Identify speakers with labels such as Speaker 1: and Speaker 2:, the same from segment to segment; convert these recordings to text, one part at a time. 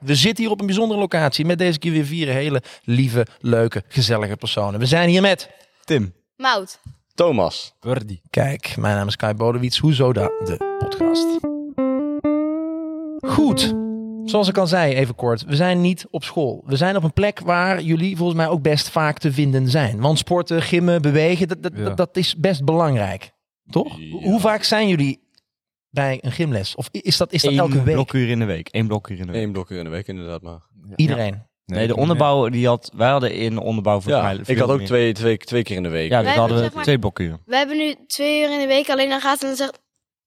Speaker 1: we zitten hier op een bijzondere locatie met deze keer weer vier hele lieve, leuke, gezellige personen. We zijn hier met...
Speaker 2: Tim.
Speaker 3: Mout.
Speaker 4: Thomas.
Speaker 2: Wordy.
Speaker 1: Kijk, mijn naam is Kai Bodewits, hoezo da, de podcast. Goed, zoals ik al zei, even kort, we zijn niet op school. We zijn op een plek waar jullie volgens mij ook best vaak te vinden zijn. Want sporten, gimmen, bewegen, dat, dat,
Speaker 2: Ja.
Speaker 1: dat, dat is best belangrijk. Toch?
Speaker 4: Ja.
Speaker 1: Hoe vaak zijn jullie bij een gymles? Of is dat, is dat elke week?
Speaker 2: blokuur in de week. Eén blokuur in de week.
Speaker 4: Eén blok uur in de week inderdaad maar.
Speaker 1: Iedereen?
Speaker 5: Nee, de onderbouw die had, wij hadden in onderbouw voor
Speaker 4: Ja,
Speaker 5: mij.
Speaker 4: ik had ook twee, twee, twee keer in de week.
Speaker 5: Ja, dus
Speaker 3: Wij
Speaker 5: hadden we
Speaker 3: hebben, zeg maar-
Speaker 5: twee blokuren.
Speaker 3: We hebben nu twee uur in de week, alleen dan gaat er zeg-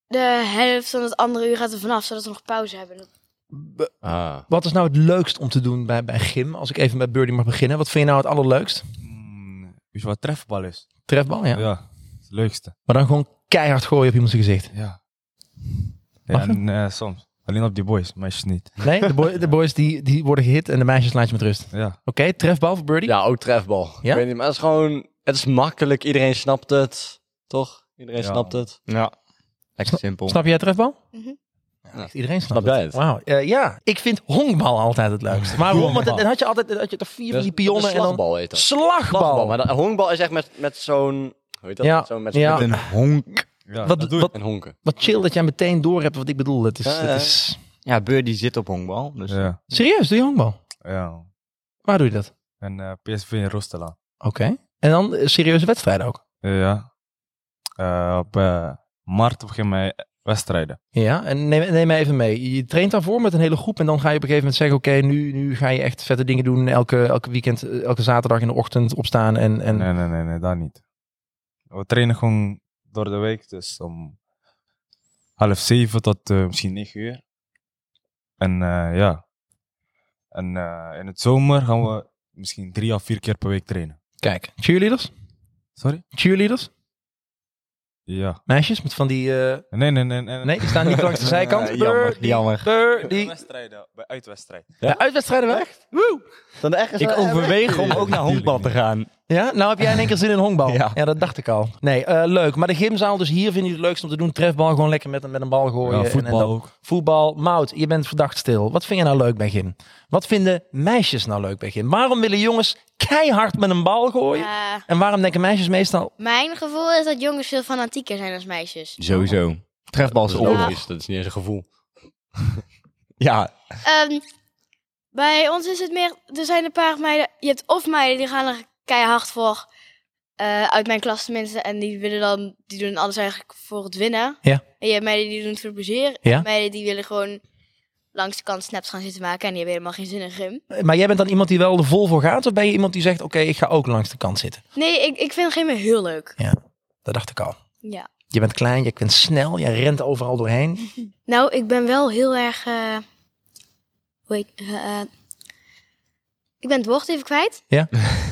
Speaker 3: de helft van het andere uur gaat er vanaf, zodat we nog pauze hebben.
Speaker 4: Ah.
Speaker 1: Wat is nou het leukst om te doen bij, bij gym? Als ik even bij Birdie mag beginnen. Wat vind je nou het allerleukst?
Speaker 2: Weet je wat trefbal Mm, is?
Speaker 1: Trefbal, ja.
Speaker 2: Het leukste.
Speaker 1: Maar dan gewoon keihard gooien op iemands gezicht.
Speaker 2: Ja.
Speaker 1: Mag
Speaker 2: ja en eh, soms. Alleen op die boys, meisjes niet.
Speaker 1: Nee, de, boy- de boys die, die worden gehit en de meisjes laat je met rust. Oké,
Speaker 2: Ja.
Speaker 1: trefbal voor Birdie.
Speaker 4: Ja, ook trefbal.
Speaker 1: Ja?
Speaker 4: Ik weet niet, maar het is gewoon... Het is makkelijk. Iedereen snapt het. Toch? Iedereen
Speaker 2: Ja.
Speaker 4: snapt het.
Speaker 5: Ja. Lekker simpel.
Speaker 1: Snap jij trefbal?
Speaker 3: Mhm.
Speaker 1: Ja, echt iedereen snapt
Speaker 4: Snap jij
Speaker 1: het.
Speaker 4: het?
Speaker 1: Wauw. Eh, ja, ik vind honkbal altijd het leukst. Maar waarom? Want
Speaker 2: Honkbal.
Speaker 1: dan had je altijd dan had je toch vier van die pionnen en
Speaker 4: en
Speaker 1: dan...
Speaker 4: slagbal heet dat.
Speaker 1: Slagbal.
Speaker 4: Slagbal. Maar dat, honkbal is echt met, met zo'n... Hoe heet dat?
Speaker 1: Ja.
Speaker 4: Zo met,
Speaker 1: Ja.
Speaker 4: met
Speaker 5: Een honk.
Speaker 2: ja
Speaker 1: Wat-
Speaker 2: dat doe ik.
Speaker 1: wat-
Speaker 4: en honken.
Speaker 1: Wat chill dat jij meteen door hebt wat ik bedoel. Het is,
Speaker 4: Ja,
Speaker 1: het
Speaker 4: ja.
Speaker 1: is...
Speaker 5: Ja, Beur die zit op honkbal. Dus
Speaker 2: Ja.
Speaker 1: Serieus, doe je honkbal?
Speaker 2: ja.
Speaker 1: Waar doe je dat?
Speaker 2: En eh, PSV in Roestela.
Speaker 1: Oké. En dan eh, serieuze wedstrijden ook.
Speaker 2: ja. Eh, op eh, maart beginnen wij wedstrijden.
Speaker 1: Ja, en neem, neem mij even mee. Je traint daarvoor met een hele groep en dan ga je op een gegeven moment zeggen: Oké, nu, nu ga je echt vette dingen doen. Elke, elke weekend, eh, elke zaterdag in de ochtend opstaan. En, en...
Speaker 2: Nee, nee, nee, nee, dat niet. We trainen gewoon door de week, dus om half zeven tot eh, misschien negen uur. En eh, ja. En eh, in het zomer gaan we misschien drie of vier keer per week trainen.
Speaker 1: Kijk, cheerleaders?
Speaker 2: Sorry?
Speaker 1: Cheerleaders?
Speaker 2: Ja.
Speaker 1: Meisjes met van die. eh,
Speaker 2: Nee, nee, nee. Nee,
Speaker 1: Nee, die staan niet langs de zijkant.
Speaker 5: Eh, jammer,
Speaker 1: Birdie,
Speaker 5: jammer.
Speaker 1: birdie.
Speaker 2: wedstrijden, bij uitwedstrijd.
Speaker 1: Ja, uitwedstrijden weg. Woe!
Speaker 4: Dan echt
Speaker 5: ik overweeg om ook naar
Speaker 2: Tuurlijk
Speaker 5: honkbal te
Speaker 2: niet.
Speaker 5: gaan.
Speaker 1: Ja, nou heb jij in één keer zin in honkbal. Ja,
Speaker 5: Ja.
Speaker 1: dat dacht ik al. Nee, eh, leuk. Maar de gymzaal, dus hier vind je het leukst om te doen. Trefbal gewoon lekker met, een- met een bal gooien. en-
Speaker 2: Ja,
Speaker 1: en
Speaker 2: voetbal
Speaker 1: dat-
Speaker 2: ook.
Speaker 1: Voetbal, Mout, je bent verdacht stil. Wat vind je nou leuk bij gym? Wat vinden meisjes nou leuk bij gym? Waarom willen jongens keihard met een bal gooien?
Speaker 3: Eh,
Speaker 1: En waarom denken meisjes meestal...
Speaker 3: mijn gevoel is dat jongens veel fanatieker zijn dan meisjes.
Speaker 5: Sowieso. Trefbal
Speaker 4: Dat is logisch. Dat is niet eens een gevoel.
Speaker 5: Ja.
Speaker 3: Ehm, bij ons is het meer, er zijn een paar meiden, je hebt of meiden die gaan er keihard voor, eh, uit mijn klas tenminste, en die willen dan, die doen alles eigenlijk voor het winnen.
Speaker 1: Ja.
Speaker 3: En je hebt meiden die doen het voor plezier,
Speaker 1: Ja.
Speaker 3: meiden die willen gewoon langs de kant snaps gaan zitten maken en die hebben helemaal geen zin in gym.
Speaker 1: Maar jij bent dan iemand die wel er vol voor gaat? Of ben je iemand die zegt, oké, ik ga ook langs de kant zitten?
Speaker 3: Nee, ik, ik vind gym heel leuk.
Speaker 1: Dat dacht ik al.
Speaker 3: Ja.
Speaker 1: Je bent klein, je bent snel, jij rent overal doorheen.
Speaker 3: Nou, ik ben wel heel erg, eh hoe heet, eh, eh, ik ben het woord even kwijt.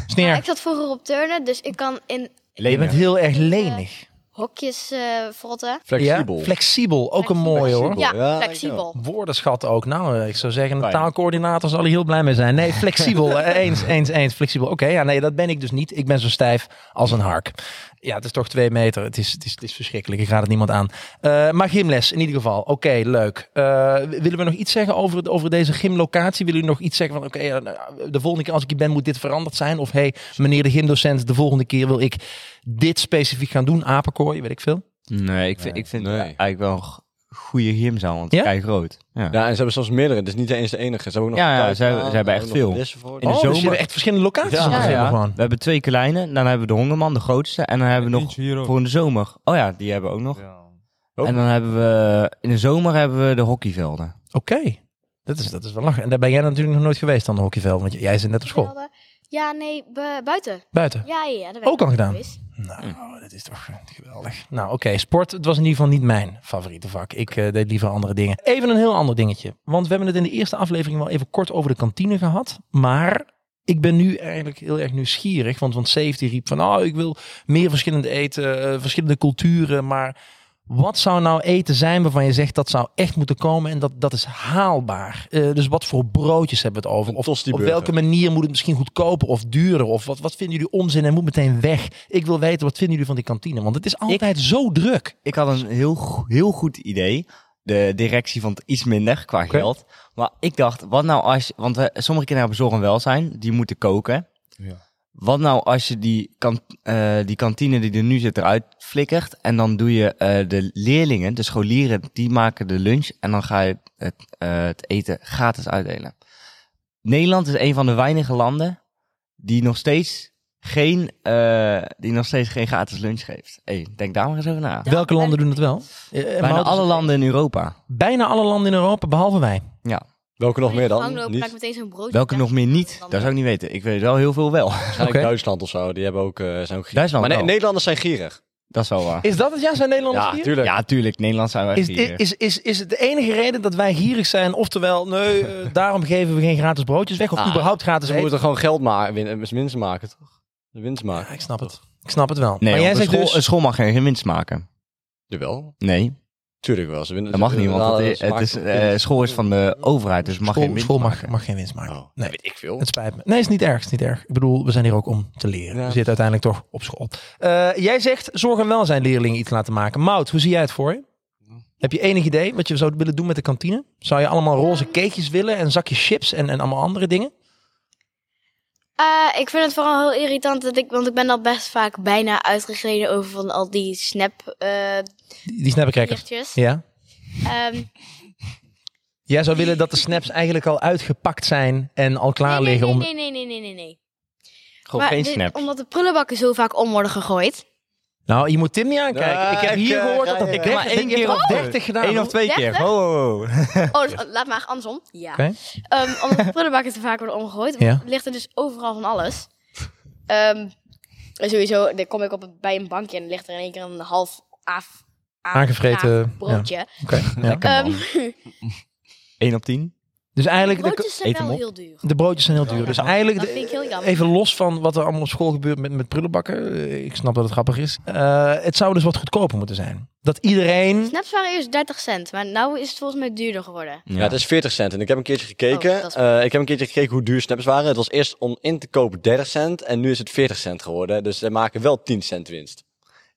Speaker 1: Sneer,
Speaker 3: Ik zat vroeger op turnen, dus ik kan in
Speaker 1: je bent heel erg lenig.
Speaker 3: hokjes eh vrotten.
Speaker 4: Flexibel.
Speaker 1: Ja? Flexibel, ook een mooie hoor.
Speaker 4: Flexibel.
Speaker 3: Ja,
Speaker 4: Ja, ik
Speaker 3: flexibel.
Speaker 1: Woordenschat ook. Nou, eh, ik zou zeggen, de
Speaker 4: Fijn.
Speaker 1: taalcoördinator zal er heel blij mee zijn. Nee, flexibel. Eh, eens, eens, eens. Flexibel. Oké, ja, nee, dat ben ik dus niet. Ik ben zo stijf als een hark. Ja, het is toch twee meter. Het is, het is, het is verschrikkelijk. Ik raad het niemand aan. Eh, maar gymles, in ieder geval. Oké, leuk. Eh, willen we nog iets zeggen over, de- over deze gymlocatie? Willen jullie nog iets zeggen van, oké, ja, nou, de volgende keer als ik hier ben moet dit veranderd zijn? Of, hey, meneer de gymdocent, de volgende keer wil ik dit specifiek gaan doen. Apenkooien, weet ik veel.
Speaker 5: Nee, ik vind, ik vind
Speaker 4: Nee.
Speaker 5: eigenlijk wel een g- goede gymzaal, want
Speaker 1: Ja?
Speaker 5: het is groot. Ja.
Speaker 4: Ja, en ze hebben soms meerdere. Dus niet eens de enige. Ze hebben ook nog...
Speaker 5: Ja, ja,
Speaker 4: thuis
Speaker 5: ze hebben-
Speaker 4: staan,
Speaker 5: ze hebben
Speaker 4: ook
Speaker 5: echt
Speaker 4: nog
Speaker 5: veel.
Speaker 4: flessen voor.
Speaker 5: In
Speaker 1: oh,
Speaker 5: de zomer-
Speaker 1: dus jullie hebben echt verschillende locaties.
Speaker 5: Ja,
Speaker 1: aan het
Speaker 5: ja.
Speaker 1: gym gewoon.
Speaker 5: We hebben twee kleine, dan hebben we de hongerman, de grootste. En dan hebben we nog
Speaker 2: Eentje hier ook.
Speaker 5: voor in de zomer. Oh ja, die hebben we ook nog.
Speaker 2: Ja. Oh.
Speaker 5: En dan hebben we in de zomer hebben we de hockeyvelden.
Speaker 1: Oké. Dat, is, dat is wel lachen. En daar ben jij natuurlijk nog nooit geweest aan de hockeyveld. Want j- jij zit net op school.
Speaker 3: Ja, nee, bu- buiten.
Speaker 1: Buiten.
Speaker 3: Ja, ja, ja. dat
Speaker 1: Ook al gedaan.
Speaker 3: Is.
Speaker 1: Nou, dat is toch eh, geweldig. Nou, oké. Sport, het was in ieder geval niet mijn favoriete vak. Ik eh, deed liever andere dingen. Even een heel ander dingetje. Want we hebben het in de eerste aflevering wel even kort over de kantine gehad. Maar ik ben nu eigenlijk heel erg nieuwsgierig. Want, want Safety riep van, oh, ik wil meer verschillend eten, eh, verschillende culturen. Maar wat zou nou eten zijn waarvan je zegt dat zou echt moeten komen en dat, dat is haalbaar? Eh, dus wat voor broodjes hebben we het over?
Speaker 4: Een
Speaker 1: Of op
Speaker 4: tostiburger.
Speaker 1: welke manier moet het misschien goedkoper of duurder? Of wat, wat vinden jullie onzin en moet meteen weg? Ik wil weten, wat vinden jullie van die kantine? Want het is altijd zo druk.
Speaker 5: Ik had een heel, go- heel goed idee. de directie vond het iets minder qua geld. Maar ik dacht, wat nou als... je- Want we, sommige kinderen hebben zorg en welzijn. Die moeten koken.
Speaker 2: Ja.
Speaker 5: Wat nou als je die, kan, eh, die kantine die er nu zit eruit flikkert. En dan doe je eh, de leerlingen, de scholieren, die maken de lunch. En dan ga je het, eh, het eten gratis uitdelen. Nederland is een van de weinige landen die nog steeds geen, eh, die nog steeds geen gratis lunch geeft. Hey, denk daar maar eens over na.
Speaker 1: Welke landen doen dat wel? Eh,
Speaker 5: Bijna
Speaker 1: Maurits-
Speaker 5: alle landen in Europa.
Speaker 3: Oh,
Speaker 1: bijna alle landen in Europa, behalve wij.
Speaker 4: Welke nog meer dan?
Speaker 3: Langlopen
Speaker 4: Niet?
Speaker 3: maakt meteen zo'n broodje.
Speaker 5: Welke
Speaker 3: Ja,
Speaker 5: nog meer niet? Dat
Speaker 3: dan-
Speaker 5: zou ik niet weten. Ik weet wel heel veel wel.
Speaker 4: Waarschijnlijk
Speaker 1: Oké.
Speaker 4: Duitsland of zo. Die hebben ook, eh, zijn ook gierig.
Speaker 5: Duitsland
Speaker 4: Maar nee,
Speaker 5: wel.
Speaker 4: Nederlanders zijn gierig.
Speaker 5: Dat is wel waar.
Speaker 1: Is dat het? Ja, zijn Nederlanders
Speaker 4: Ja,
Speaker 1: hier?
Speaker 4: tuurlijk.
Speaker 5: Ja, tuurlijk. Nederland zijn we echt
Speaker 1: Is,
Speaker 5: hier.
Speaker 1: is, is, is het de enige reden dat wij gierig zijn? Oftewel, nee, eh, daarom geven we geen gratis broodjes weg of
Speaker 4: Ah,
Speaker 1: überhaupt gratis
Speaker 4: Ze
Speaker 1: eten?
Speaker 4: moeten gewoon geld maken, win, winst maken, toch? De winst
Speaker 1: Ja,
Speaker 4: maken.
Speaker 1: ik snap het. Ik snap het wel.
Speaker 5: Nee,
Speaker 1: maar
Speaker 5: want
Speaker 1: jij
Speaker 5: een
Speaker 1: zegt
Speaker 5: school,
Speaker 1: dus...
Speaker 5: een school mag geen geen winst maken.
Speaker 4: Jawel.
Speaker 5: Nee,
Speaker 4: Tuurlijk wel. Ze winnen,
Speaker 5: dat mag
Speaker 4: ze-
Speaker 5: niet, want dat
Speaker 4: ja,
Speaker 5: is,
Speaker 4: ze
Speaker 5: het
Speaker 4: maken
Speaker 5: is,
Speaker 4: toch
Speaker 5: eh,
Speaker 4: winst.
Speaker 5: school is van de overheid, dus mag
Speaker 1: school,
Speaker 5: geen winst
Speaker 1: school mag,
Speaker 5: maken.
Speaker 1: mag geen winst maken.
Speaker 4: Oh,
Speaker 1: Nee.
Speaker 4: nee. weet ik veel.
Speaker 1: Het spijt me. Nee, is niet erg. Is niet erg. Ik bedoel, we zijn hier ook om te leren.
Speaker 4: Ja.
Speaker 1: We zitten uiteindelijk toch op school. Eh, jij zegt zorg en welzijn leerlingen iets laten maken. Mout, hoe zie jij het voor je? Heb je enig idee wat je zou willen doen met de kantine? Zou je allemaal roze cakejes willen en zakjes chips en, en allemaal andere dingen?
Speaker 3: Eh, ik vind het vooral heel irritant, dat ik, want ik ben al best vaak bijna uitgegleden over van al die snap eh
Speaker 1: Die, die snap ik lekker.
Speaker 3: gifjes.
Speaker 1: Ja.
Speaker 3: Ehm,
Speaker 1: Jij zou willen dat de snaps eigenlijk al uitgepakt zijn en al klaar
Speaker 3: nee,
Speaker 1: liggen
Speaker 3: nee,
Speaker 1: om...
Speaker 3: nee, nee, nee, nee, nee, nee.
Speaker 5: Gewoon
Speaker 3: Maar
Speaker 5: geen
Speaker 3: dit-
Speaker 5: snap.
Speaker 3: omdat de prullenbakken zo vaak om worden gegooid.
Speaker 1: Nou, je moet Tim niet aankijken.
Speaker 4: Ja,
Speaker 1: ik heb
Speaker 4: ik,
Speaker 1: hier
Speaker 4: eh,
Speaker 1: gehoord
Speaker 4: ga
Speaker 1: dat dat
Speaker 4: je-
Speaker 1: 30,
Speaker 5: Maar één
Speaker 1: ik heb
Speaker 5: keer
Speaker 1: al
Speaker 5: of-
Speaker 3: nou?
Speaker 1: 30 gedaan.
Speaker 5: Eén of twee keer.
Speaker 3: Dertig?
Speaker 5: Ho, ho, ho.
Speaker 3: Oh, dus, laat maar andersom. Ja.
Speaker 1: Oké.
Speaker 3: Ehm, omdat de prullenbakken te vaak worden omgegooid,
Speaker 1: Ja.
Speaker 3: ligt er dus overal van alles. Ehm, en sowieso, dan kom ik op, een- bij een bankje en dan ligt er in één keer een half af, af-
Speaker 1: Aangevreten,
Speaker 3: af broodje.
Speaker 1: Oké, ja.
Speaker 5: Lekker man.
Speaker 3: Ehm,
Speaker 5: Eén op tien.
Speaker 1: Dus eigenlijk... de-
Speaker 3: broodjes zijn
Speaker 5: eet hem
Speaker 3: wel
Speaker 5: op.
Speaker 3: heel duur.
Speaker 1: De broodjes zijn heel duur.
Speaker 3: Ja.
Speaker 1: Dus eigenlijk,
Speaker 3: Dat
Speaker 1: de-
Speaker 3: vind ik heel jammer.
Speaker 1: even los van wat er allemaal op school gebeurt met, met prullenbakken. eh, Ik snap dat het grappig is. Eh, het zou dus wat goedkoper moeten zijn. Dat iedereen...
Speaker 3: Snaps waren eerst 30 cent, maar nu is het volgens mij duurder geworden.
Speaker 4: Ja, het is 40 cent. En ik heb een keertje gekeken.
Speaker 3: Oh, dat is-
Speaker 4: Eh, ik heb een keertje gekeken hoe duur snaps waren. Het was eerst om in te kopen 30 cent. En nu is het 40 cent geworden. Dus ze maken wel 10 cent winst.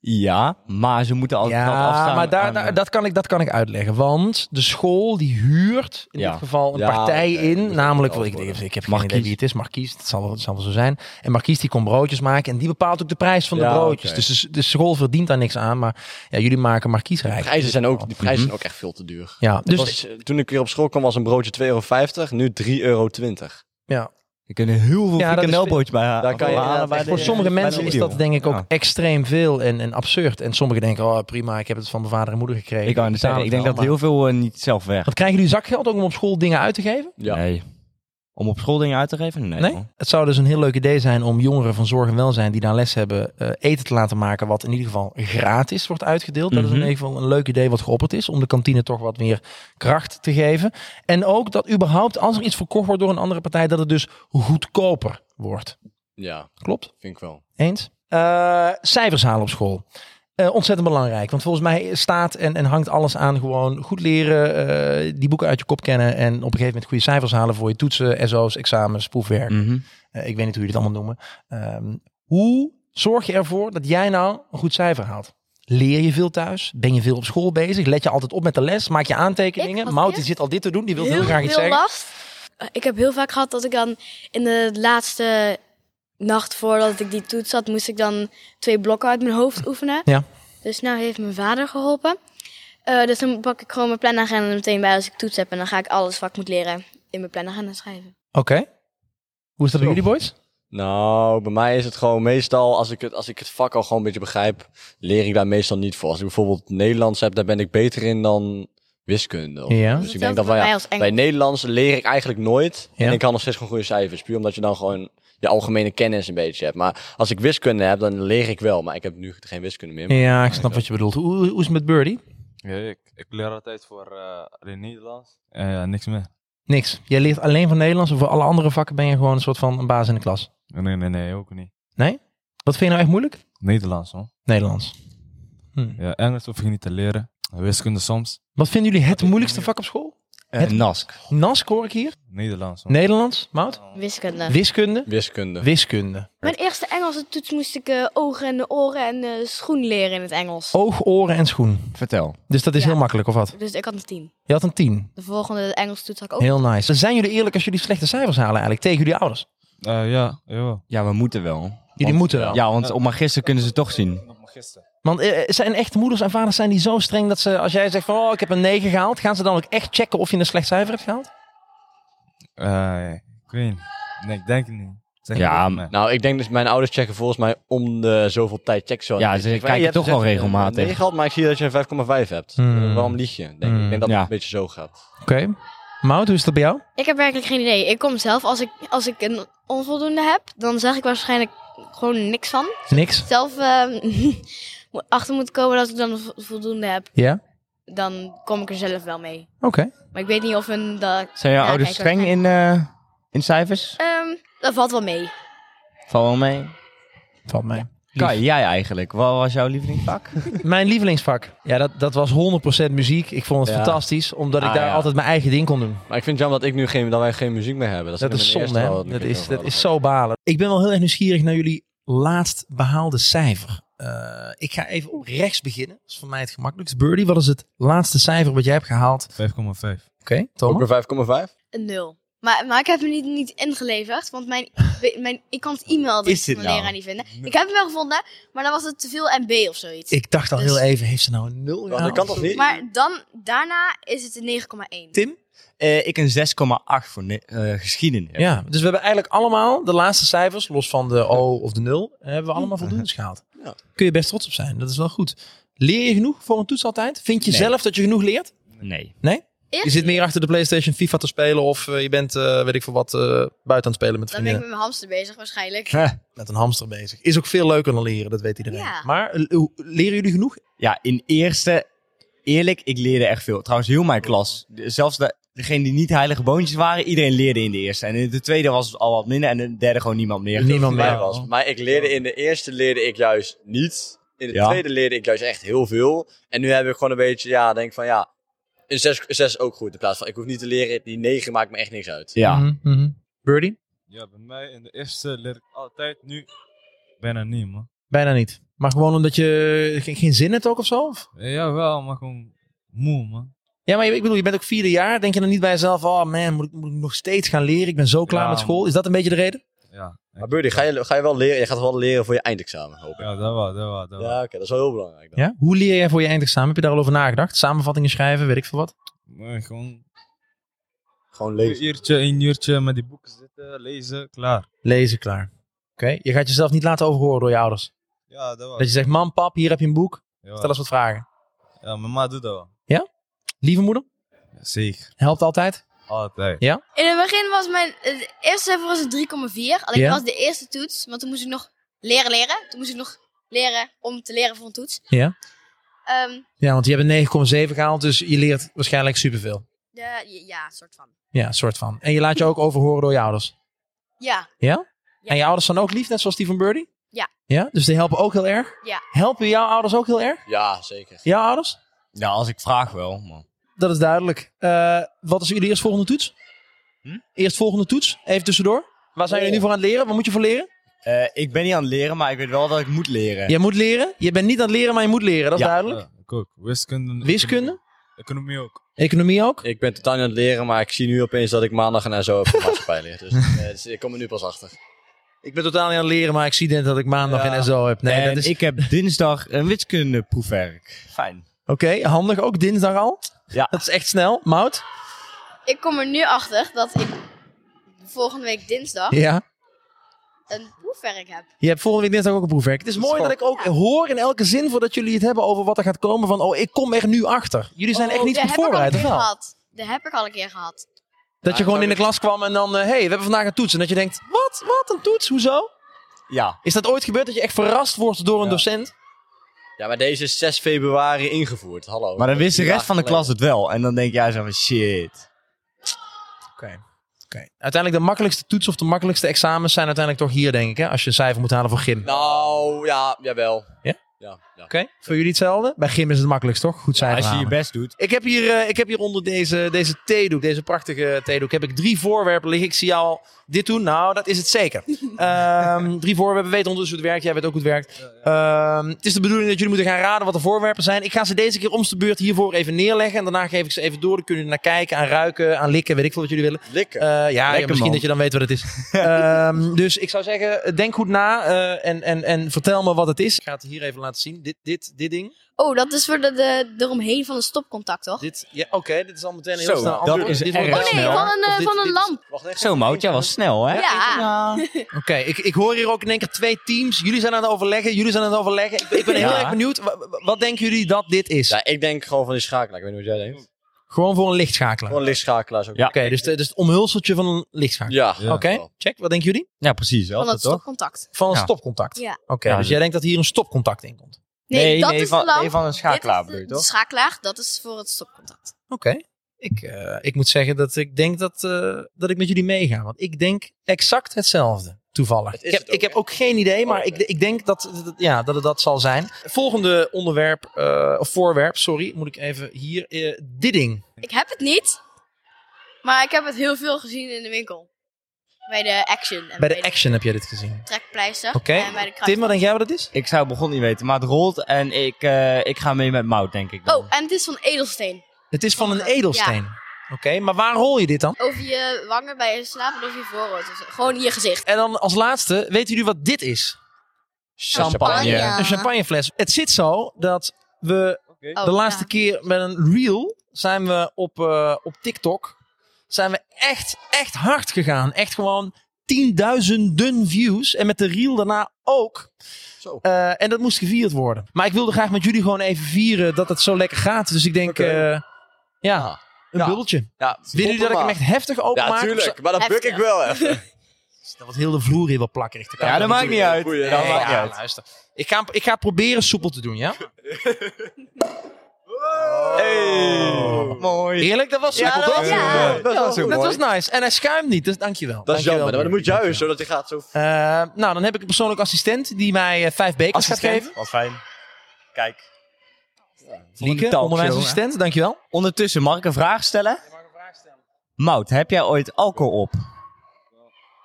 Speaker 5: Ja, maar ze moeten altijd geld
Speaker 1: Ja,
Speaker 5: afstaan.
Speaker 1: maar daar,
Speaker 5: aan,
Speaker 1: daar-
Speaker 5: eh,
Speaker 1: dat, kan ik, dat kan ik uitleggen. Want de school die huurt in
Speaker 5: Ja.
Speaker 1: dit geval een
Speaker 4: Ja,
Speaker 1: partij
Speaker 4: oké.
Speaker 1: in.
Speaker 4: Moet
Speaker 1: Namelijk,
Speaker 4: wel
Speaker 1: ik, ik,
Speaker 4: worden.
Speaker 1: ik heb geen
Speaker 5: Marquise.
Speaker 1: idee wie het is. Marquise, het zal, wel- het zal wel zo zijn. En Marquise die kon broodjes maken. En die bepaalt ook de prijs van de
Speaker 4: Ja,
Speaker 1: broodjes.
Speaker 4: oké.
Speaker 1: Dus de, de school verdient daar niks aan. Maar ja, jullie maken Marquise
Speaker 4: De
Speaker 1: rijk.
Speaker 4: prijzen zijn ook, die prijzen
Speaker 5: Mhm.
Speaker 4: zijn ook echt veel te duur.
Speaker 1: Ja, dus...
Speaker 4: was, eh, toen ik weer op school kwam was een broodje 2,50 euro. Nu 3,20 euro.
Speaker 1: ja.
Speaker 5: Je kunt er heel
Speaker 1: Ja,
Speaker 5: veel
Speaker 1: dat is-
Speaker 5: frikandelbroodjes bij halen.
Speaker 4: Daar kan je
Speaker 5: halen
Speaker 4: inderdaad
Speaker 5: bij
Speaker 4: echt
Speaker 5: de-
Speaker 1: Voor sommige
Speaker 5: bij de
Speaker 1: mensen is dat
Speaker 5: deal.
Speaker 1: denk ik ook
Speaker 5: Ja.
Speaker 1: extreem veel en, en absurd. En sommigen denken, oh prima, ik heb het van mijn vader en moeder gekregen.
Speaker 5: Ik, kan
Speaker 1: Ik betaal
Speaker 5: zeggen,
Speaker 1: het
Speaker 5: ik denk
Speaker 1: wel,
Speaker 5: dat heel veel eh, niet zelf weg.
Speaker 1: maar- Want krijgen jullie zakgeld ook om op school dingen uit te geven?
Speaker 4: Ja.
Speaker 5: Nee. Om op school dingen uit te geven? Nee.
Speaker 1: Nee?
Speaker 5: hoor.
Speaker 1: Het zou dus een heel leuk idee zijn om jongeren van zorg en welzijn die daar les hebben, eh, eten te laten maken wat in ieder geval gratis wordt uitgedeeld. Dat is
Speaker 5: Mhm.
Speaker 1: in ieder geval een leuk idee wat geopperd is, om de kantine toch wat meer kracht te geven. En ook dat überhaupt, als er iets verkocht wordt door een andere partij, dat het dus goedkoper wordt.
Speaker 4: Ja,
Speaker 1: Klopt?
Speaker 4: vind ik wel.
Speaker 1: Eens. Eh, cijfers halen op school. Eh, ontzettend belangrijk. Want volgens mij staat en, en hangt alles aan gewoon goed leren, eh, die boeken uit je kop kennen en op een gegeven moment goede cijfers halen voor je toetsen, SO's, examens, proefwerk.
Speaker 5: Mhm.
Speaker 1: Eh, ik weet niet hoe jullie het allemaal noemen. Ehm, hoe zorg je ervoor dat jij nou een goed cijfer haalt? Leer je veel thuis? Ben je veel op school bezig? Let je altijd op met de les? Maak je
Speaker 3: Ik
Speaker 1: aantekeningen?
Speaker 3: was
Speaker 1: Mout die
Speaker 3: eerst
Speaker 1: zit al dit te doen, die wil heel, graag iets
Speaker 3: veel
Speaker 1: zeggen.
Speaker 3: last. Ik heb heel vaak gehad dat ik dan in de laatste nacht voordat ik die toets had, moest ik dan twee blokken uit mijn hoofd oefenen.
Speaker 1: Ja.
Speaker 3: Dus nou heeft mijn vader geholpen. Eh, dus dan pak ik gewoon mijn planagenda er meteen bij als ik toets heb. En dan ga ik alles wat ik moet leren in mijn planagenda schrijven.
Speaker 1: Oké. Hoe is dat bij jullie boys?
Speaker 4: Nou, bij mij is het gewoon meestal, als ik het, als ik het vak al gewoon een beetje begrijp, leer ik daar meestal niet voor. Als ik bijvoorbeeld Nederlands heb, daar ben ik beter in dan wiskunde. Of-
Speaker 1: Ja.
Speaker 4: Dus ik
Speaker 3: Hetzelfde
Speaker 4: denk dat wij,
Speaker 3: bij mij
Speaker 4: ja,
Speaker 3: als Engels.
Speaker 4: bij Nederlands leer ik eigenlijk nooit.
Speaker 1: Ja.
Speaker 4: En ik kan nog steeds gewoon goede cijfers. Puur omdat je dan gewoon je algemene kennis een beetje hebt. Maar als ik wiskunde heb, dan leer ik wel. Maar ik heb nu geen wiskunde meer.
Speaker 1: Ja, ik snap wat je bedoelt. Hoe, hoe is het met Birdie?
Speaker 2: Ja, ik, ik leer altijd voor eh, alleen Nederlands. Eh, ja, niks meer.
Speaker 1: Niks. Jij leert alleen van Nederlands. en Voor alle andere vakken ben je gewoon een soort van een baas in de klas.
Speaker 2: Nee, nee, nee, ook niet.
Speaker 1: Wat vind je nou echt moeilijk?
Speaker 2: Nederlands, hoor.
Speaker 1: Nederlands. Hm.
Speaker 2: Ja, Engels hoef ik niet te leren. Wiskunde soms.
Speaker 1: Wat vinden jullie het moeilijkste vak op school?
Speaker 5: Eh,
Speaker 1: Het-
Speaker 5: NASC.
Speaker 1: NASC hoor ik hier.
Speaker 2: Nederlands. man.
Speaker 1: Nederlands, Mout.
Speaker 3: Wiskunde.
Speaker 1: Wiskunde.
Speaker 4: Wiskunde.
Speaker 1: Wiskunde.
Speaker 3: Mijn eerste Engelse toets moest ik eh, ogen en de oren en eh, schoen leren in het Engels.
Speaker 1: Oog, oren en schoen.
Speaker 5: Vertel.
Speaker 1: Dus dat is
Speaker 3: Ja.
Speaker 1: heel makkelijk, of wat?
Speaker 3: Dus ik had een tien.
Speaker 1: Je had een 10.
Speaker 3: De volgende Engelse toets had ik ook.
Speaker 1: Heel nice. Dan zijn jullie eerlijk als jullie slechte cijfers halen eigenlijk tegen jullie ouders.
Speaker 2: Eh, ja, jawel.
Speaker 5: Ja, we moeten wel.
Speaker 1: Jullie
Speaker 5: Want-
Speaker 1: moeten wel.
Speaker 5: Ja, want op magister kunnen ze toch zien.
Speaker 2: Gisteren.
Speaker 1: Want eh, eh, zijn echte moeders en vaders zijn die zo streng dat ze, als jij zegt van oh, ik heb een 9 gehaald, gaan ze dan ook echt checken of je een slecht cijfer hebt gehaald?
Speaker 2: Eh, ik weet niet. Nee, ik denk het niet. Zeg
Speaker 5: Ja,
Speaker 2: het
Speaker 5: maar-
Speaker 2: niet, nee.
Speaker 4: Nou, ik denk dus mijn ouders checken volgens mij om de zoveel tijd checken ze wel.
Speaker 5: Ja,
Speaker 4: Ik
Speaker 5: ze
Speaker 4: zeg van,
Speaker 5: kijken
Speaker 4: hey, je
Speaker 5: toch
Speaker 4: hebt
Speaker 5: wel
Speaker 4: gezegd, eh,
Speaker 5: regelmatig.
Speaker 4: nee, gehad, maar ik zie dat je een 5,5 hebt.
Speaker 1: Hmm.
Speaker 4: Eh, Waarom lieg je? Denk ik.
Speaker 1: Hmm.
Speaker 4: ik denk dat
Speaker 5: Ja.
Speaker 4: het een beetje zo gaat.
Speaker 1: Oké. Mout, hoe is dat bij jou?
Speaker 3: Ik heb werkelijk geen idee. Ik kom zelf, als ik, als ik een onvoldoende heb, dan zeg ik waarschijnlijk gewoon niks van.
Speaker 1: Niks.
Speaker 3: Zelf eh, moet- achter moet komen dat ik dan vo- voldoende heb.
Speaker 1: Ja?
Speaker 3: Dan kom ik er zelf wel mee.
Speaker 1: Oké.
Speaker 3: Maar ik weet niet of een... Dat,
Speaker 5: Zijn jouw
Speaker 3: Ja,
Speaker 5: ouders
Speaker 3: kijk,
Speaker 5: streng in, eh, in cijfers?
Speaker 3: ehm, dat valt wel mee.
Speaker 5: Val wel mee.
Speaker 1: Valt mij.
Speaker 5: Kai, jij eigenlijk. Wat was jouw lievelingsvak?
Speaker 1: Mijn lievelingsvak. Ja, dat, dat was 100% muziek. Ik vond het
Speaker 4: Ja.
Speaker 1: fantastisch, omdat ik
Speaker 5: Ah,
Speaker 1: daar
Speaker 5: ja.
Speaker 1: altijd mijn eigen ding kon doen.
Speaker 4: Maar ik vind het jammer dat, ik nu geen, dat wij geen muziek meer hebben. Dat,
Speaker 1: Dat is
Speaker 4: mijn
Speaker 1: zonde,
Speaker 4: eerste
Speaker 1: hè?
Speaker 4: wel
Speaker 1: Dat
Speaker 4: ik
Speaker 1: is,
Speaker 4: over
Speaker 1: dat
Speaker 4: had.
Speaker 1: is zo balen. Ik ben wel heel erg nieuwsgierig naar jullie laatst behaalde cijfer. Eh, ik ga even op rechts beginnen. Dat is voor mij het gemakkelijkst. Birdie, wat is het laatste cijfer wat jij hebt gehaald?
Speaker 2: 5,5.
Speaker 1: Oké,
Speaker 4: Ook
Speaker 1: Thomas?
Speaker 4: een 5,5?
Speaker 3: Een nul. Maar, maar ik heb hem niet, niet ingeleverd, want mijn, mijn, ik kan het
Speaker 5: Is
Speaker 3: e-mailadres
Speaker 5: dit
Speaker 3: van de
Speaker 5: nou?
Speaker 3: leraar niet vinden. Ik heb hem wel gevonden, maar dan was het te veel MB of zoiets.
Speaker 1: Ik dacht al
Speaker 3: Dus-
Speaker 1: heel even, heeft ze nou een nul
Speaker 4: Want Oh, Dat
Speaker 1: gehaald?
Speaker 4: kan toch niet?
Speaker 3: Maar dan, daarna is het een 9,1.
Speaker 1: Tim?
Speaker 5: Eh, ik een 6,8 voor ne- eh, geschiedenis.
Speaker 1: Ja, dus we hebben eigenlijk allemaal de laatste cijfers, los van de O of de 0, hebben we allemaal voldoende gehaald.
Speaker 4: Ja.
Speaker 1: Kun je best trots op zijn, dat is wel goed. Leer je genoeg voor een toets altijd? Vind je
Speaker 5: Nee.
Speaker 1: zelf dat je genoeg leert?
Speaker 5: Nee.
Speaker 3: Eerst-
Speaker 1: Je zit meer achter de PlayStation FIFA te spelen of eh, je bent, eh, weet ik veel wat, eh, buiten aan het spelen met
Speaker 3: Dan ben ik
Speaker 1: vrienden.
Speaker 3: met mijn hamster bezig waarschijnlijk.
Speaker 1: Met een hamster bezig. Is ook veel leuker dan leren, dat weet iedereen.
Speaker 3: Ja.
Speaker 1: Maar eh, hoe- leren jullie genoeg?
Speaker 5: Ja, in eerste, eerlijk, ik leerde echt veel. Trouwens, heel mijn klas. de- Zelfs de, degene die niet heilige boontjes waren, iedereen leerde in de eerste. En in de tweede was het al wat minder. En in de derde gewoon niemand meer.
Speaker 1: Niemand
Speaker 4: mij
Speaker 1: meer.
Speaker 4: was. Maar ik leerde in de eerste leerde ik juist niet. In de
Speaker 5: Ja.
Speaker 4: tweede leerde ik juist echt heel veel. En nu heb ik gewoon een beetje, ja, denk van ja, een 6 is ook goed. In plaats van ik hoef niet te leren, die 9 maakt me echt niks uit.
Speaker 5: Ja.
Speaker 1: Mhm, mhm. Birdie?
Speaker 2: Ja, bij mij in de eerste leer ik altijd nu bijna niet, man.
Speaker 1: Bijna niet. Maar gewoon omdat je geen, geen zin hebt ook of zo? Of?
Speaker 2: Ja, Eh, jawel, maar gewoon moe, man.
Speaker 1: Ja, maar ik bedoel, je bent ook vierde jaar. Denk je dan niet bij jezelf, oh man, moet ik, moet ik nog steeds gaan leren? Ik ben zo klaar
Speaker 2: Ja,
Speaker 1: met school. Is dat een beetje de reden?
Speaker 2: Ja,
Speaker 4: Maar Birdie, ga je, ga je wel leren? Je gaat wel leren voor je eindexamen, hoop ik.
Speaker 2: ja dat wel, dat wel, dat
Speaker 4: Ja,
Speaker 2: wel.
Speaker 4: oké, dat is wel heel belangrijk. Dan.
Speaker 1: Ja? Hoe leer jij voor je eindexamen? Heb je daar al over nagedacht? Samenvattingen schrijven, weet ik veel wat.
Speaker 2: Maar gewoon
Speaker 4: Gewoon
Speaker 2: een
Speaker 4: lezen.
Speaker 2: uurtje, een uurtje met die boeken zitten, lezen, klaar.
Speaker 1: Lezen, klaar. Oké, je gaat jezelf niet laten overhoren door je ouders.
Speaker 2: Ja, dat wel.
Speaker 1: Dat je zegt, mam, pap, hier heb je een boek. Stel
Speaker 2: Jawel.
Speaker 1: eens wat vragen.
Speaker 2: Ja, mijn ma doet dat wel.
Speaker 1: Lieve moeder,
Speaker 2: Ja, zeker,
Speaker 1: helpt altijd.
Speaker 2: altijd.
Speaker 3: In het begin was mijn het eerste cijfer was een 3,4. Alleen
Speaker 1: Ja.
Speaker 3: dat was de eerste toets, want toen moest ik nog leren leren. Toen moest ik nog leren om te leren voor een toets.
Speaker 1: Ja.
Speaker 3: Ehm,
Speaker 1: Ja, want je hebt een 9,7 gehaald, dus je leert waarschijnlijk superveel.
Speaker 3: de, ja, soort van.
Speaker 1: Ja, soort van. En je laat je ook overhoren door je ouders.
Speaker 3: Ja, Ja.
Speaker 1: En je ouders zijn ook lief, net zoals die van Birdie?
Speaker 3: Ja.
Speaker 1: Ja, dus die helpen ook heel erg?
Speaker 3: Ja.
Speaker 1: Helpen jouw ouders ook heel erg?
Speaker 4: Ja, zeker.
Speaker 1: Jouw ouders?
Speaker 5: Ja, als ik vraag wel. Man.
Speaker 1: Dat is duidelijk. Eh, wat is jullie eerstvolgende toets?
Speaker 5: Hm?
Speaker 1: Eerstvolgende toets, even tussendoor. Waar zijn jullie nu voor aan het leren? Wat moet je voor leren?
Speaker 5: Eh, ik ben niet aan het leren, maar ik weet wel dat ik moet leren.
Speaker 1: Je moet leren. Je bent niet aan het leren, maar je moet leren. Dat is
Speaker 5: Ja.
Speaker 1: duidelijk.
Speaker 2: Ja, ik ook. Wiskunde.
Speaker 1: Wiskunde?
Speaker 2: Economie ook.
Speaker 1: Economie ook?
Speaker 4: Ik ben totaal niet aan het leren, maar ik zie nu opeens dat ik maandag en zo op maatschappij leer. Dus, eh, dus ik kom er nu pas achter.
Speaker 1: Ik ben totaal niet aan het leren, maar ik zie net dat ik maandag
Speaker 5: Ja.
Speaker 1: en zo heb. Nee,
Speaker 5: en
Speaker 1: dat is...
Speaker 5: ik heb dinsdag een wiskundeproefwerk. Fijn.
Speaker 1: Oké, handig. Ook dinsdag al.
Speaker 5: Ja.
Speaker 1: Dat is echt snel. Mout?
Speaker 3: ik kom er nu achter dat ik volgende week dinsdag
Speaker 1: Ja.
Speaker 3: een proefwerk heb.
Speaker 1: Je hebt volgende week dinsdag ook een proefwerk. Het is
Speaker 4: Dat is
Speaker 1: mooi dat ik
Speaker 4: gewoon-
Speaker 1: ook hoor in elke zin voordat jullie het hebben over wat er gaat komen. Van, oh, ik kom er nu achter. Jullie zijn echt niet
Speaker 3: Oh, Daar
Speaker 1: goed
Speaker 3: heb ik al een
Speaker 1: voorbereid, of
Speaker 3: keer
Speaker 1: wel?
Speaker 3: gehad. Dat heb ik al een keer gehad.
Speaker 1: Dat je
Speaker 4: Ja,
Speaker 1: gewoon in
Speaker 4: zou
Speaker 1: de klas kwam en dan, hé, hey, we hebben vandaag een toets. En dat je denkt, wat? Wat? Een toets? Hoezo?
Speaker 5: Ja.
Speaker 1: Is dat ooit gebeurd dat je echt verrast wordt door een
Speaker 2: Ja.
Speaker 1: docent?
Speaker 4: Ja, maar deze is 6 februari ingevoerd. Hallo.
Speaker 5: Maar dan wist de
Speaker 4: Drie
Speaker 5: rest van de
Speaker 4: dagen
Speaker 5: klas het wel. En dan denk jij zo van shit.
Speaker 1: Oké. Oké. Uiteindelijk de makkelijkste toets of de makkelijkste Nou, examens zijn uiteindelijk toch hier, denk ik. Hè? Als je een cijfer moet halen voor gym.
Speaker 4: geleden. Nou, ja, jawel.
Speaker 1: Ja?
Speaker 4: Ja,
Speaker 1: Voor jullie hetzelfde? Bij Gim is het makkelijkst, toch? Goed cijfer
Speaker 6: Als je je
Speaker 1: halen.
Speaker 6: best doet.
Speaker 1: Ik heb hier, eh, ik heb hier onder deze, deze theedoek, deze prachtige theedoek, heb ik drie voorwerpen liggen. Ik zie jou al dit doen. Nou, dat is het zeker. Ehm, drie voorwerpen. We weten ondertussen hoe het werkt. Jij weet ook hoe het werkt. Ehm, het is de bedoeling dat jullie moeten gaan raden wat de voorwerpen zijn. Ik ga ze deze keer om de beurt hiervoor even neerleggen. En daarna geef ik ze even door. Dan kunnen jullie naar kijken, aan ruiken, aan likken. Weet ik veel wat jullie willen.
Speaker 4: Likken.
Speaker 1: Eh, ja, ja,
Speaker 5: Lekker,
Speaker 1: misschien
Speaker 5: man.
Speaker 1: dat je dan weet wat het is. Ehm, dus ik zou zeggen, eh, denk goed na eh, en, en, en vertel me wat het is. Ik ga het hier even laten zien. Dit, dit, dit ding.
Speaker 3: Oh, dat is voor de, de eromheen van een stopcontact, toch?
Speaker 1: Dit, ja, oké, dit is al meteen heel
Speaker 6: Zo,
Speaker 1: snel.
Speaker 6: dat
Speaker 1: antwoord.
Speaker 6: is
Speaker 1: Dit wordt
Speaker 6: erg
Speaker 1: wel
Speaker 3: Oh nee,
Speaker 1: snel.
Speaker 3: van een,
Speaker 1: Of
Speaker 3: eh,
Speaker 1: dit-
Speaker 3: van een
Speaker 1: dit-
Speaker 3: lamp.
Speaker 4: Wacht even.
Speaker 5: Zo, Mout, jij was snel, hè?
Speaker 3: Ja.
Speaker 1: Oké, ik, ik hoor hier ook in één keer twee teams. Jullie zijn aan het overleggen, jullie zijn aan het overleggen. Ik, ben- ik ben heel
Speaker 5: Ja.
Speaker 1: erg benieuwd. Wa- wa- Wat, denken jullie dat dit is?
Speaker 4: Ja, ik denk gewoon van die schakelaar. Ik weet niet wat jij denkt.
Speaker 1: Gewoon voor een lichtschakelaar.
Speaker 4: Gewoon een lichtschakelaar. Zo.
Speaker 6: Ja.
Speaker 1: Oké, dus, de- dus het omhulseltje van een lichtschakelaar.
Speaker 4: Ja.
Speaker 6: Ja.
Speaker 1: Oké, check. Wat denken jullie?
Speaker 6: Ja, precies.
Speaker 3: Van dat
Speaker 6: Altijd, toch?
Speaker 3: stopcontact.
Speaker 1: Van een
Speaker 5: Ja.
Speaker 1: stopcontact.
Speaker 3: Ja.
Speaker 1: Oké,
Speaker 6: Ja,
Speaker 1: dus
Speaker 6: dus-
Speaker 1: jij denkt dat hier een stopcontact in komt.
Speaker 3: Nee, dat is de
Speaker 5: van,
Speaker 3: lamp.
Speaker 5: nee, van een schakelaar
Speaker 3: Dit
Speaker 5: bedoel
Speaker 3: is
Speaker 5: je,
Speaker 3: de, de
Speaker 5: toch?
Speaker 3: schakelaar, dat is voor het stopcontact.
Speaker 1: Oké. Ik, eh, ik moet zeggen dat ik denk dat, eh, dat ik met jullie meega. Want ik denk exact hetzelfde. Toevallig.
Speaker 4: is
Speaker 1: ik heb,
Speaker 4: het ook,
Speaker 1: ik heb
Speaker 4: hè?
Speaker 1: ook geen idee, maar
Speaker 4: Oh,
Speaker 1: ik,
Speaker 4: oké.
Speaker 1: ik denk dat, dat, ja, dat het dat zal zijn. Volgende onderwerp, eh, of voorwerp, sorry, moet ik even hier. eh, didding.
Speaker 3: Ik heb het niet, maar ik heb het heel veel gezien in de winkel. Bij de Action. En
Speaker 1: Bij de action heb jij dit gezien.
Speaker 3: Trekpleister.
Speaker 1: Oké.
Speaker 3: En bij de kruid.
Speaker 1: Tim, wat denk jij wat het is?
Speaker 5: Ik zou begon niet weten, maar het rolt en ik, eh, ik ga mee met Mout, denk ik. dan.
Speaker 3: Oh, en het is van edelsteen.
Speaker 1: Het is van een edelsteen. Oké, maar waar rol je dit dan?
Speaker 3: Over je wangen bij je slaap en over je voorhoofd. Dus gewoon in je gezicht.
Speaker 1: En dan als laatste, weten jullie wat dit is?
Speaker 5: champagne.
Speaker 3: Champagne.
Speaker 1: Een champagnefles. Het zit zo dat we
Speaker 3: Oh,
Speaker 1: de laatste
Speaker 3: ja.
Speaker 1: keer met een reel zijn we op, eh, op TikTok. Zijn we echt, echt hard gegaan. Echt gewoon tienduizenden views. En met de reel daarna ook.
Speaker 4: Zo.
Speaker 1: Eh, en dat moest gevierd worden. Maar ik wilde graag met jullie gewoon even vieren dat het zo lekker gaat. Dus ik denk,
Speaker 4: Oké.
Speaker 1: eh, ja, een
Speaker 4: Ja.
Speaker 1: bubbeltje.
Speaker 4: Ja,
Speaker 1: Willen jullie dat ik hem echt heftig openmaak?
Speaker 4: Ja,
Speaker 1: Of
Speaker 4: tuurlijk. Maar dat buk ik
Speaker 3: Heftig.
Speaker 4: wel even.
Speaker 1: zo- Dat wordt heel de vloer hier wel plakkerig. Dat kan
Speaker 5: Ja,
Speaker 1: toch
Speaker 5: dat maakt niet uit.
Speaker 4: Goeie,
Speaker 5: Dat
Speaker 1: Nee,
Speaker 5: maakt niet
Speaker 1: ja,
Speaker 5: uit.
Speaker 1: luister. Ik ga, ik ga proberen soepel te doen, ja?
Speaker 4: Hey.
Speaker 5: Mooi.
Speaker 1: Eerlijk, dat was soepel, toch?
Speaker 3: ja.
Speaker 4: Dat was heel
Speaker 1: Dat
Speaker 4: mooi.
Speaker 1: was nice. En hij schuimt niet, dus dankjewel.
Speaker 4: Dat is
Speaker 1: Dankjewel,
Speaker 4: jammer, maar dat moet
Speaker 1: Dirk.
Speaker 4: juist, zodat hij gaat zo...
Speaker 1: Eh, nou, dan heb ik een persoonlijke assistent die mij eh, vijf bekers gaat geven.
Speaker 6: Wat fijn. Kijk.
Speaker 1: Lieke, onderwijsassistent, dankjewel.
Speaker 5: Ondertussen, mag ik een vraag stellen? Mout, heb jij ooit alcohol op?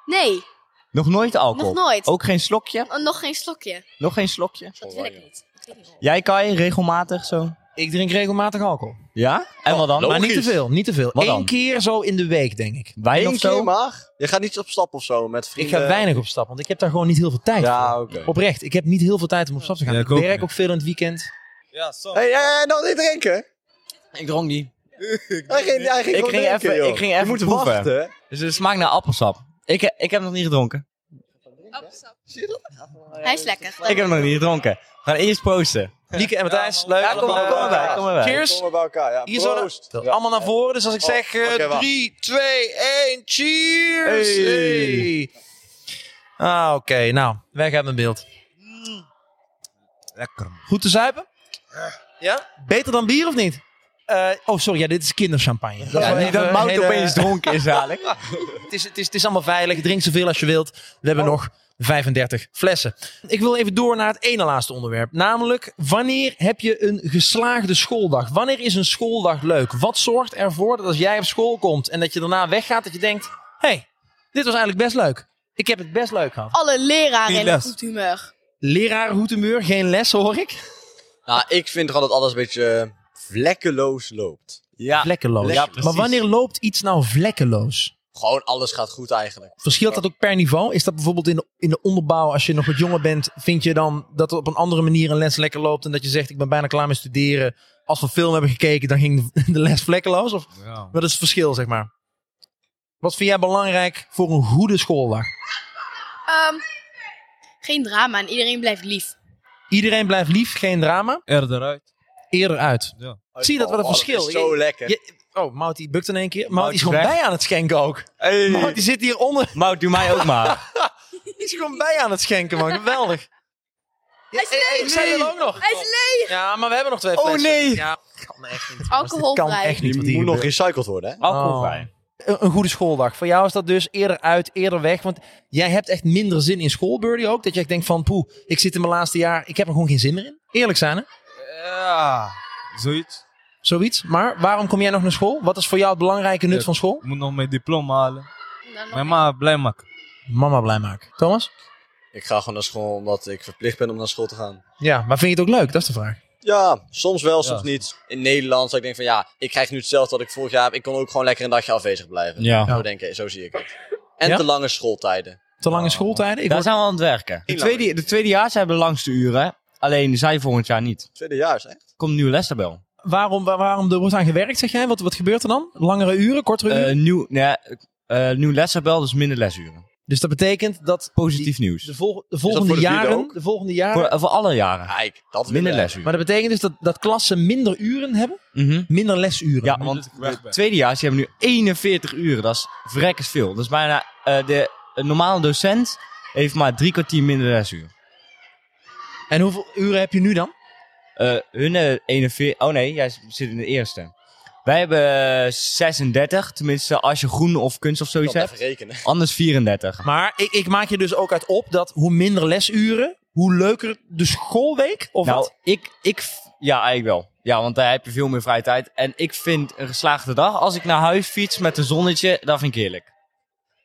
Speaker 3: Nee,
Speaker 5: Nog nooit alcohol?
Speaker 3: nog nooit.
Speaker 5: Ook geen slokje?
Speaker 3: Oh, nog geen slokje.
Speaker 5: Nog geen slokje?
Speaker 3: Dat wil ik niet. Dat wil ik niet.
Speaker 5: Jij kan regelmatig zo?
Speaker 1: Ik drink regelmatig alcohol.
Speaker 5: Ja? En wat dan?
Speaker 1: Maar niet te veel, niet te veel.
Speaker 5: Wat
Speaker 1: Eén
Speaker 5: dan?
Speaker 1: keer zo in de week, denk ik.
Speaker 5: Wijn
Speaker 4: Eén
Speaker 5: of zo?
Speaker 4: keer maar. Je gaat niet op stap of zo met
Speaker 1: Ik
Speaker 4: vrienden.
Speaker 1: ga weinig op stap, want ik heb daar gewoon niet heel veel tijd
Speaker 4: Eh, Ja,
Speaker 1: voor.
Speaker 4: oké.
Speaker 1: Oprecht, ik heb niet heel veel tijd om op stap te gaan.
Speaker 2: Ja,
Speaker 1: ik
Speaker 2: ik ook
Speaker 1: werk
Speaker 2: niet.
Speaker 1: ook veel in het weekend.
Speaker 2: Ja, zo.
Speaker 4: Hé, hey, hey, nog niet drinken.
Speaker 5: Ik dronk die.
Speaker 4: Hij ging, hij ging
Speaker 5: Ik
Speaker 4: gewoon
Speaker 5: ging
Speaker 4: drinken,
Speaker 5: even-
Speaker 4: joh.
Speaker 5: ik ging
Speaker 4: Je
Speaker 5: even
Speaker 4: moet
Speaker 5: proeven.
Speaker 4: wachten.
Speaker 5: Dus het smaakt naar appelsap. Ik, he- ik heb nog niet gedronken.
Speaker 3: Hij is lekker.
Speaker 5: Ik heb nog niet gedronken. We gaan eerst proosten.
Speaker 1: Lieke en Matthijs, leuk.
Speaker 5: Ja, kom maar, kom maar bij. Kom maar bij.
Speaker 1: Cheers.
Speaker 4: Komen bij elkaar, ja.
Speaker 1: Hier zo
Speaker 4: Proost.
Speaker 1: naar-
Speaker 4: Ja.
Speaker 1: Allemaal naar voren. Dus als ik
Speaker 4: Oh,
Speaker 1: zeg
Speaker 4: oké, wacht.
Speaker 1: 3, 2, 1, cheers!
Speaker 4: Hey.
Speaker 1: Hey. Ah, oké. Nou, weg uit mijn beeld.
Speaker 2: Lekker. man.
Speaker 1: Goed te zuipen? Ja? Beter dan bier of niet? Eh, oh, sorry. Ja, dit is kinderchampagne. Dat is
Speaker 5: Ja,
Speaker 1: wel
Speaker 5: niet
Speaker 1: even
Speaker 5: dat
Speaker 1: een
Speaker 5: Mout
Speaker 1: hele-
Speaker 5: opeens dronken is dadelijk.
Speaker 1: het, is, het, is, het is allemaal veilig. Drink zoveel als je wilt. We hebben nog 35 flessen. Ik wil even door naar het ene laatste onderwerp. Namelijk, wanneer heb je een geslaagde schooldag? Wanneer is een schooldag leuk? Wat zorgt ervoor dat als jij op school komt en dat je daarna weggaat, dat je denkt: hé, hey, dit was eigenlijk best leuk. Ik heb het best leuk gehad.
Speaker 3: Alle leraren in een
Speaker 2: Les.
Speaker 3: goed humeur.
Speaker 1: Leraar Hoetemeur, geen les hoor ik.
Speaker 4: Nou, ik vind gewoon dat alles een beetje eh, vlekkeloos loopt.
Speaker 5: Ja.
Speaker 1: Vlekkeloos.
Speaker 4: Ja,
Speaker 1: maar wanneer loopt iets nou vlekkeloos?
Speaker 4: Gewoon alles gaat goed eigenlijk.
Speaker 1: Verschilt dat ook per niveau? Is dat bijvoorbeeld in de, in de onderbouw, als je nog wat jonger bent, vind je dan dat er op een andere manier een les lekker loopt en dat je zegt, ik ben bijna klaar met studeren. Als we film hebben gekeken, dan ging de- de les vlekkeloos? Of
Speaker 2: Ja.
Speaker 1: wat is het verschil, zeg maar? Wat vind jij belangrijk voor een goede schooldag?
Speaker 3: Ehm, geen drama en iedereen blijft lief.
Speaker 1: Iedereen blijft lief, geen drama.
Speaker 2: Eerder uit.
Speaker 1: Eerder uit.
Speaker 2: Ja.
Speaker 1: Zie je dat wat een
Speaker 4: Oh,
Speaker 1: verschil?
Speaker 4: is zo lekker.
Speaker 1: Je- oh, Mout die bukt in één keer. Mout
Speaker 5: Mout
Speaker 1: die is
Speaker 5: is
Speaker 1: gewoon
Speaker 5: weg.
Speaker 1: bij aan het schenken ook. Mout die zit hier onder.
Speaker 5: Mout, doe mij ook maar.
Speaker 1: Die is gewoon bij aan het schenken, man. Geweldig. Ja,
Speaker 3: Hij is
Speaker 1: eh, eh, ik zei dat ook nog.
Speaker 3: Hij is leeg.
Speaker 1: Ja, maar we hebben nog twee
Speaker 5: Oh,
Speaker 1: flessen.
Speaker 5: nee.
Speaker 1: Ja, kan echt niet. jongens. Dit
Speaker 3: Alcoholvrij.
Speaker 1: Kan echt niet.
Speaker 4: Die
Speaker 1: Wat hier
Speaker 4: moet nog
Speaker 1: gebeurt.
Speaker 5: Oh.
Speaker 4: recycled worden, hè?
Speaker 5: Alcoholvrij.
Speaker 1: Oh. een, een goede schooldag. Voor jou is dat dus eerder uit, eerder weg. Want jij hebt echt minder zin in school, Birdie ook. Dat jij denkt van, poeh, ik zit in mijn laatste jaar. Ik heb er gewoon geen zin meer in. Eerlijk zijn, hè?
Speaker 2: Ja, zoiets.
Speaker 1: Zoiets. Maar waarom kom jij nog naar school? Wat is voor jou het belangrijke nut
Speaker 2: Ja.
Speaker 1: van school?
Speaker 2: Ik moet nog mijn diploma halen. Mijn ma blij maken.
Speaker 1: Mama blij maken. Thomas?
Speaker 4: Ik ga gewoon naar school omdat ik verplicht ben om naar school te gaan.
Speaker 1: Ja, maar vind je het ook leuk? Dat is de vraag.
Speaker 4: Ja, soms wel, soms
Speaker 2: Ja.
Speaker 4: niet. In Nederland zou ik denken van ja, ik krijg nu hetzelfde wat ik vorig jaar heb. Ik kon ook gewoon lekker een dagje afwezig blijven.
Speaker 6: Ja.
Speaker 4: Zo, denk ik, zo zie ik het. En
Speaker 1: Ja?
Speaker 4: te lange schooltijden.
Speaker 1: Te lange schooltijden? Ik
Speaker 5: Daar
Speaker 1: word-
Speaker 5: zijn we aan het werken. De tweede, de tweedejaars hebben de langste uren. Alleen zij volgend jaar niet.
Speaker 4: Tweedejaars, hè?
Speaker 5: Komt een nieuwe lestabel.
Speaker 1: waarom, waar- waarom er wordt aan gewerkt, zeg jij? Wat, wat gebeurt er dan? Langere uren, kortere uren?
Speaker 5: Eh nieuw, nee, eh, nieuw lestabel, dus minder lesuren.
Speaker 1: dus dat betekent dat
Speaker 5: Positief nieuws.
Speaker 1: de, vol- de
Speaker 4: voor
Speaker 1: volgende
Speaker 4: de vierde
Speaker 1: jaren...
Speaker 4: ook?
Speaker 1: De volgende jaren
Speaker 5: Voor, voor alle jaren.
Speaker 4: Kijk, dat
Speaker 5: Minder
Speaker 4: wil ik.
Speaker 5: lesuren.
Speaker 1: maar dat betekent dus dat, dat klassen minder uren hebben?
Speaker 5: Mhm.
Speaker 1: Minder lesuren?
Speaker 5: Ja,
Speaker 2: Nu
Speaker 5: want
Speaker 2: dat ik weg ben.
Speaker 5: tweedejaars die hebben nu 41 uren. Dat is vrekkers veel. Dat is bijna... eh, de een normale docent heeft maar drie kwartier minder lesuur.
Speaker 1: En hoeveel uren heb je nu dan?
Speaker 5: Eh hun eh, 41... Oh nee, jij zit in de eerste. Wij hebben eh, 36. Tenminste, als je groen of kunst of
Speaker 4: Ik
Speaker 5: zoiets
Speaker 4: kan het
Speaker 5: hebt.
Speaker 4: even rekenen.
Speaker 5: Anders 34.
Speaker 1: Maar ik, ik maak je dus ook uit op dat hoe minder lesuren, hoe leuker de schoolweek? Of
Speaker 5: nou,
Speaker 1: wat?
Speaker 5: ik, ik... v- Ja, eigenlijk wel. Ja, want daar heb je veel meer vrije tijd. En ik vind een geslaagde dag, als ik naar huis fiets met een zonnetje, dat vind ik heerlijk.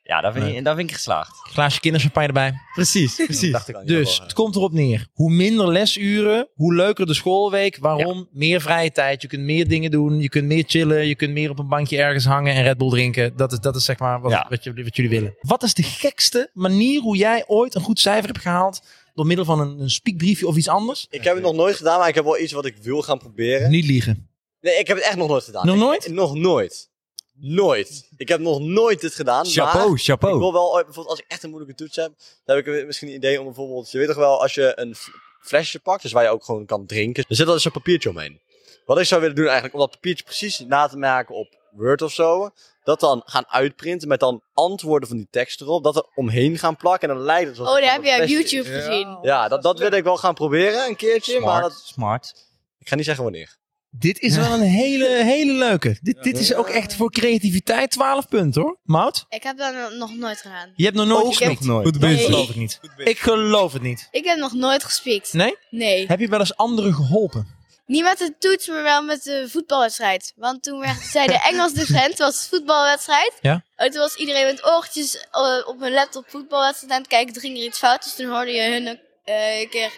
Speaker 5: Ja, dat vind, ik, dat vind ik geslaagd.
Speaker 1: Glaasje kinderchampagne erbij.
Speaker 5: Precies, precies.
Speaker 4: Dacht ik dan in ieder
Speaker 1: Dus
Speaker 4: geval,
Speaker 1: het komt erop neer. Hoe minder lesuren, hoe leuker de schoolweek. Waarom? Meer vrije tijd. Je kunt meer dingen doen. Je kunt meer chillen. Je kunt meer op een bankje ergens hangen en Red Bull drinken. Dat is, dat is zeg maar wat,
Speaker 5: Ja.
Speaker 1: wat, jullie, wat jullie willen. Wat is de gekste manier hoe jij ooit een goed cijfer hebt gehaald? Door middel van een, een speakbriefje of iets anders?
Speaker 4: Ik heb het nog nooit gedaan, maar ik heb wel iets wat ik wil gaan proberen.
Speaker 1: Niet liegen.
Speaker 4: Eh? Ah, Nee, ik heb het echt nog nooit gedaan.
Speaker 1: Nog
Speaker 4: Ik-
Speaker 1: nooit?
Speaker 4: nog nooit. Nooit. Ik heb nog nooit dit gedaan. maar-
Speaker 5: Chapeau, chapeau.
Speaker 4: Ik wil wel, ooit- bijvoorbeeld als ik echt een moeilijke toets heb, dan heb ik misschien een idee om bijvoorbeeld, je weet toch wel, als je een f- flesje pakt, dus waar je ook gewoon kan drinken, er zit altijd zo'n papiertje omheen. Wat ik zou willen doen eigenlijk, om dat papiertje precies na te maken op Word of zo, dat dan gaan uitprinten met dan antwoorden van die tekst erop, dat er omheen gaan plakken en dan lijkt het alsof
Speaker 3: Oh,
Speaker 4: het
Speaker 3: dat
Speaker 4: op
Speaker 3: heb
Speaker 4: een
Speaker 3: je op
Speaker 4: flesje
Speaker 3: YouTube
Speaker 4: is.
Speaker 3: gezien.
Speaker 4: Ja, dat, dat wil ik wel gaan proberen een keertje, maar
Speaker 5: Smart,
Speaker 4: dat,
Speaker 5: smart.
Speaker 4: ik ga niet zeggen wanneer.
Speaker 1: Dit is wel een hele, hele leuke. Dit, dit is
Speaker 4: Ja.
Speaker 1: ook echt voor creativiteit 12 punten hoor. Mout,
Speaker 3: Ik heb dat nog nooit gedaan.
Speaker 1: je hebt nog nooit
Speaker 3: heb-
Speaker 1: gespiekt.
Speaker 5: nooit.
Speaker 2: Goed
Speaker 1: Ik
Speaker 2: bezig.
Speaker 1: geloof het niet. Ik geloof het niet.
Speaker 3: Ik heb nog nooit gespiekt.
Speaker 1: Nee?
Speaker 3: Nee.
Speaker 1: Heb je wel eens anderen geholpen?
Speaker 3: Niet met de toets, maar wel met de voetbalwedstrijd. Want toen werd, zei de Engels docent, was voetbalwedstrijd.
Speaker 1: Ja.
Speaker 3: En toen was iedereen met oortjes eh, op hun laptop voetbalwedstrijd aan het kijken. Toen ging er iets fout, dus toen hoorde je hun eh, een keer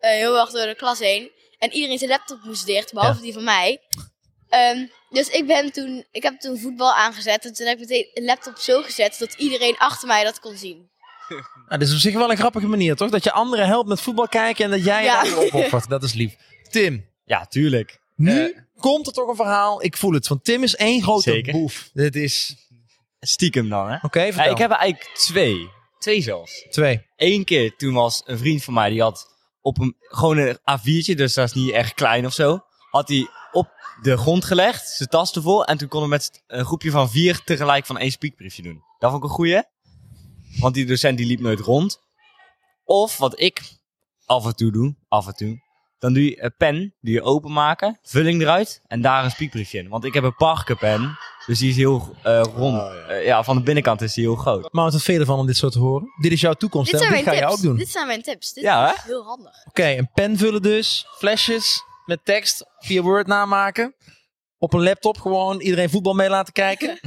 Speaker 3: eh, heel erg door de klas heen. En iedereen zijn laptop moest dicht, behalve die van mij. Ehm, dus ik, ben toen, ik heb toen voetbal aangezet. En toen heb ik meteen een laptop zo gezet dat iedereen achter mij dat kon zien.
Speaker 1: Nou, dit is op zich wel een grappige manier, toch? Dat je anderen helpt met voetbal kijken en dat jij je
Speaker 3: Ja.
Speaker 1: daarvoor opoffert. Dat is lief. Tim,
Speaker 5: Ja, tuurlijk. Eh.
Speaker 1: nu komt er toch een verhaal. Ik voel het. Van Tim is één grote
Speaker 5: Zeker.
Speaker 1: boef. Dit is...
Speaker 5: Stiekem dan, hè?
Speaker 1: Oké, vertel.
Speaker 5: Ja, ik heb er eigenlijk twee. Twee zelfs.
Speaker 1: Twee.
Speaker 5: Eén keer toen was een vriend van mij, die had op een, gewoon een A4'tje, dus dat is niet echt klein of zo, had hij op de grond gelegd, zijn tas ervoor, en toen konden we met z'n- een groepje van vier tegelijk van één spiekbriefje doen. Dat vond ik een goeie, want die docent die liep nooit rond. Of wat ik af en toe doe, af en toe, dan doe je een pen, die je openmaken, vulling eruit, en daar een spiekbriefje in. Want ik heb een parkerpen, dus die is heel eh, rond.
Speaker 4: Oh, ja.
Speaker 5: Eh, ja, van de binnenkant is die heel groot.
Speaker 1: Maar wat veel ervan om dit zo te horen. Dit is jouw toekomst.
Speaker 3: Dit
Speaker 1: hè?
Speaker 3: zijn
Speaker 1: Dit
Speaker 3: mijn
Speaker 1: ga je
Speaker 3: tips.
Speaker 1: ook doen.
Speaker 3: Dit zijn mijn tips. Dit
Speaker 5: Ja,
Speaker 3: is heel handig.
Speaker 1: Oké, een pen vullen dus. Flesjes met tekst via Word namaken. Op een laptop gewoon iedereen voetbal mee laten kijken.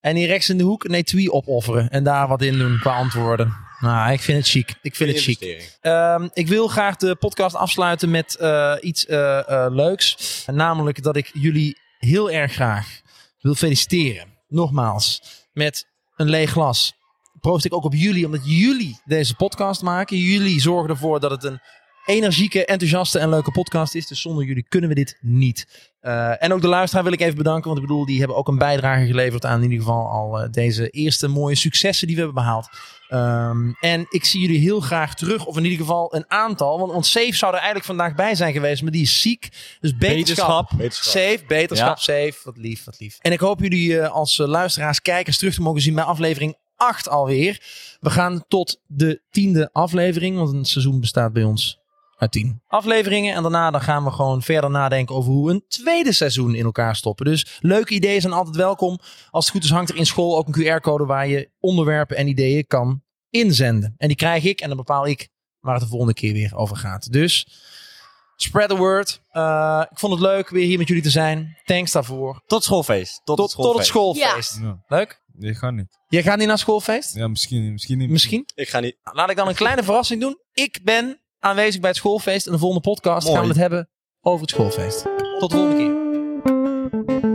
Speaker 1: en hier rechts in de hoek een etui opofferen. En daar wat in doen qua antwoorden. Nou, ik vind het chic. Ik vind het chic.
Speaker 4: Investering.
Speaker 1: Ehm, ik wil graag de podcast afsluiten met eh, iets eh, eh, leuks. Namelijk dat ik jullie heel erg graag wil feliciteren. Nogmaals, met een leeg glas. Proost ik ook op jullie, omdat jullie deze podcast maken. Jullie zorgen ervoor dat het een energieke, enthousiaste en leuke podcast is. Dus zonder jullie kunnen we dit niet. Eh, en ook de luisteraar wil ik even bedanken. Want ik bedoel, die hebben ook een bijdrage geleverd aan in ieder geval al eh, deze eerste mooie successen die we hebben behaald. Ehm, en ik zie jullie heel graag terug. Of in ieder geval een aantal. Want, want Safe zou er eigenlijk vandaag bij zijn geweest. Maar die is ziek. Dus beterschap.
Speaker 4: Wetenschap.
Speaker 1: Safe, beterschap,
Speaker 5: Ja.
Speaker 1: safe. Wat lief, wat lief. En ik hoop jullie eh, als eh, luisteraars, kijkers terug te mogen zien bij aflevering 8 alweer. We gaan tot de tiende aflevering, want een seizoen bestaat bij ons uit 10 afleveringen. En daarna dan gaan we gewoon verder nadenken over hoe we een tweede seizoen in elkaar stoppen. Dus leuke ideeën zijn altijd welkom. Als het goed is hangt er in school ook een QR-code waar je onderwerpen en ideeën kan inzenden. En die krijg ik en dan bepaal ik waar het de volgende keer weer over gaat. Dus spread the word. Eh, ik vond het leuk weer hier met jullie te zijn. Thanks daarvoor.
Speaker 6: Tot schoolfeest. Tot,
Speaker 1: Tot, tot het schoolfeest.
Speaker 2: Ja.
Speaker 1: Leuk.
Speaker 2: Nee, ga niet.
Speaker 1: Jij gaat niet naar schoolfeest?
Speaker 2: Ja, misschien, misschien niet.
Speaker 1: Misschien. Nou,
Speaker 4: Ik ga niet.
Speaker 1: Laat ik dan een kleine verrassing doen. Ik ben aanwezig bij het schoolfeest. En de volgende podcast
Speaker 6: Mooi.
Speaker 1: gaan we het hebben over het schoolfeest. Tot de volgende keer.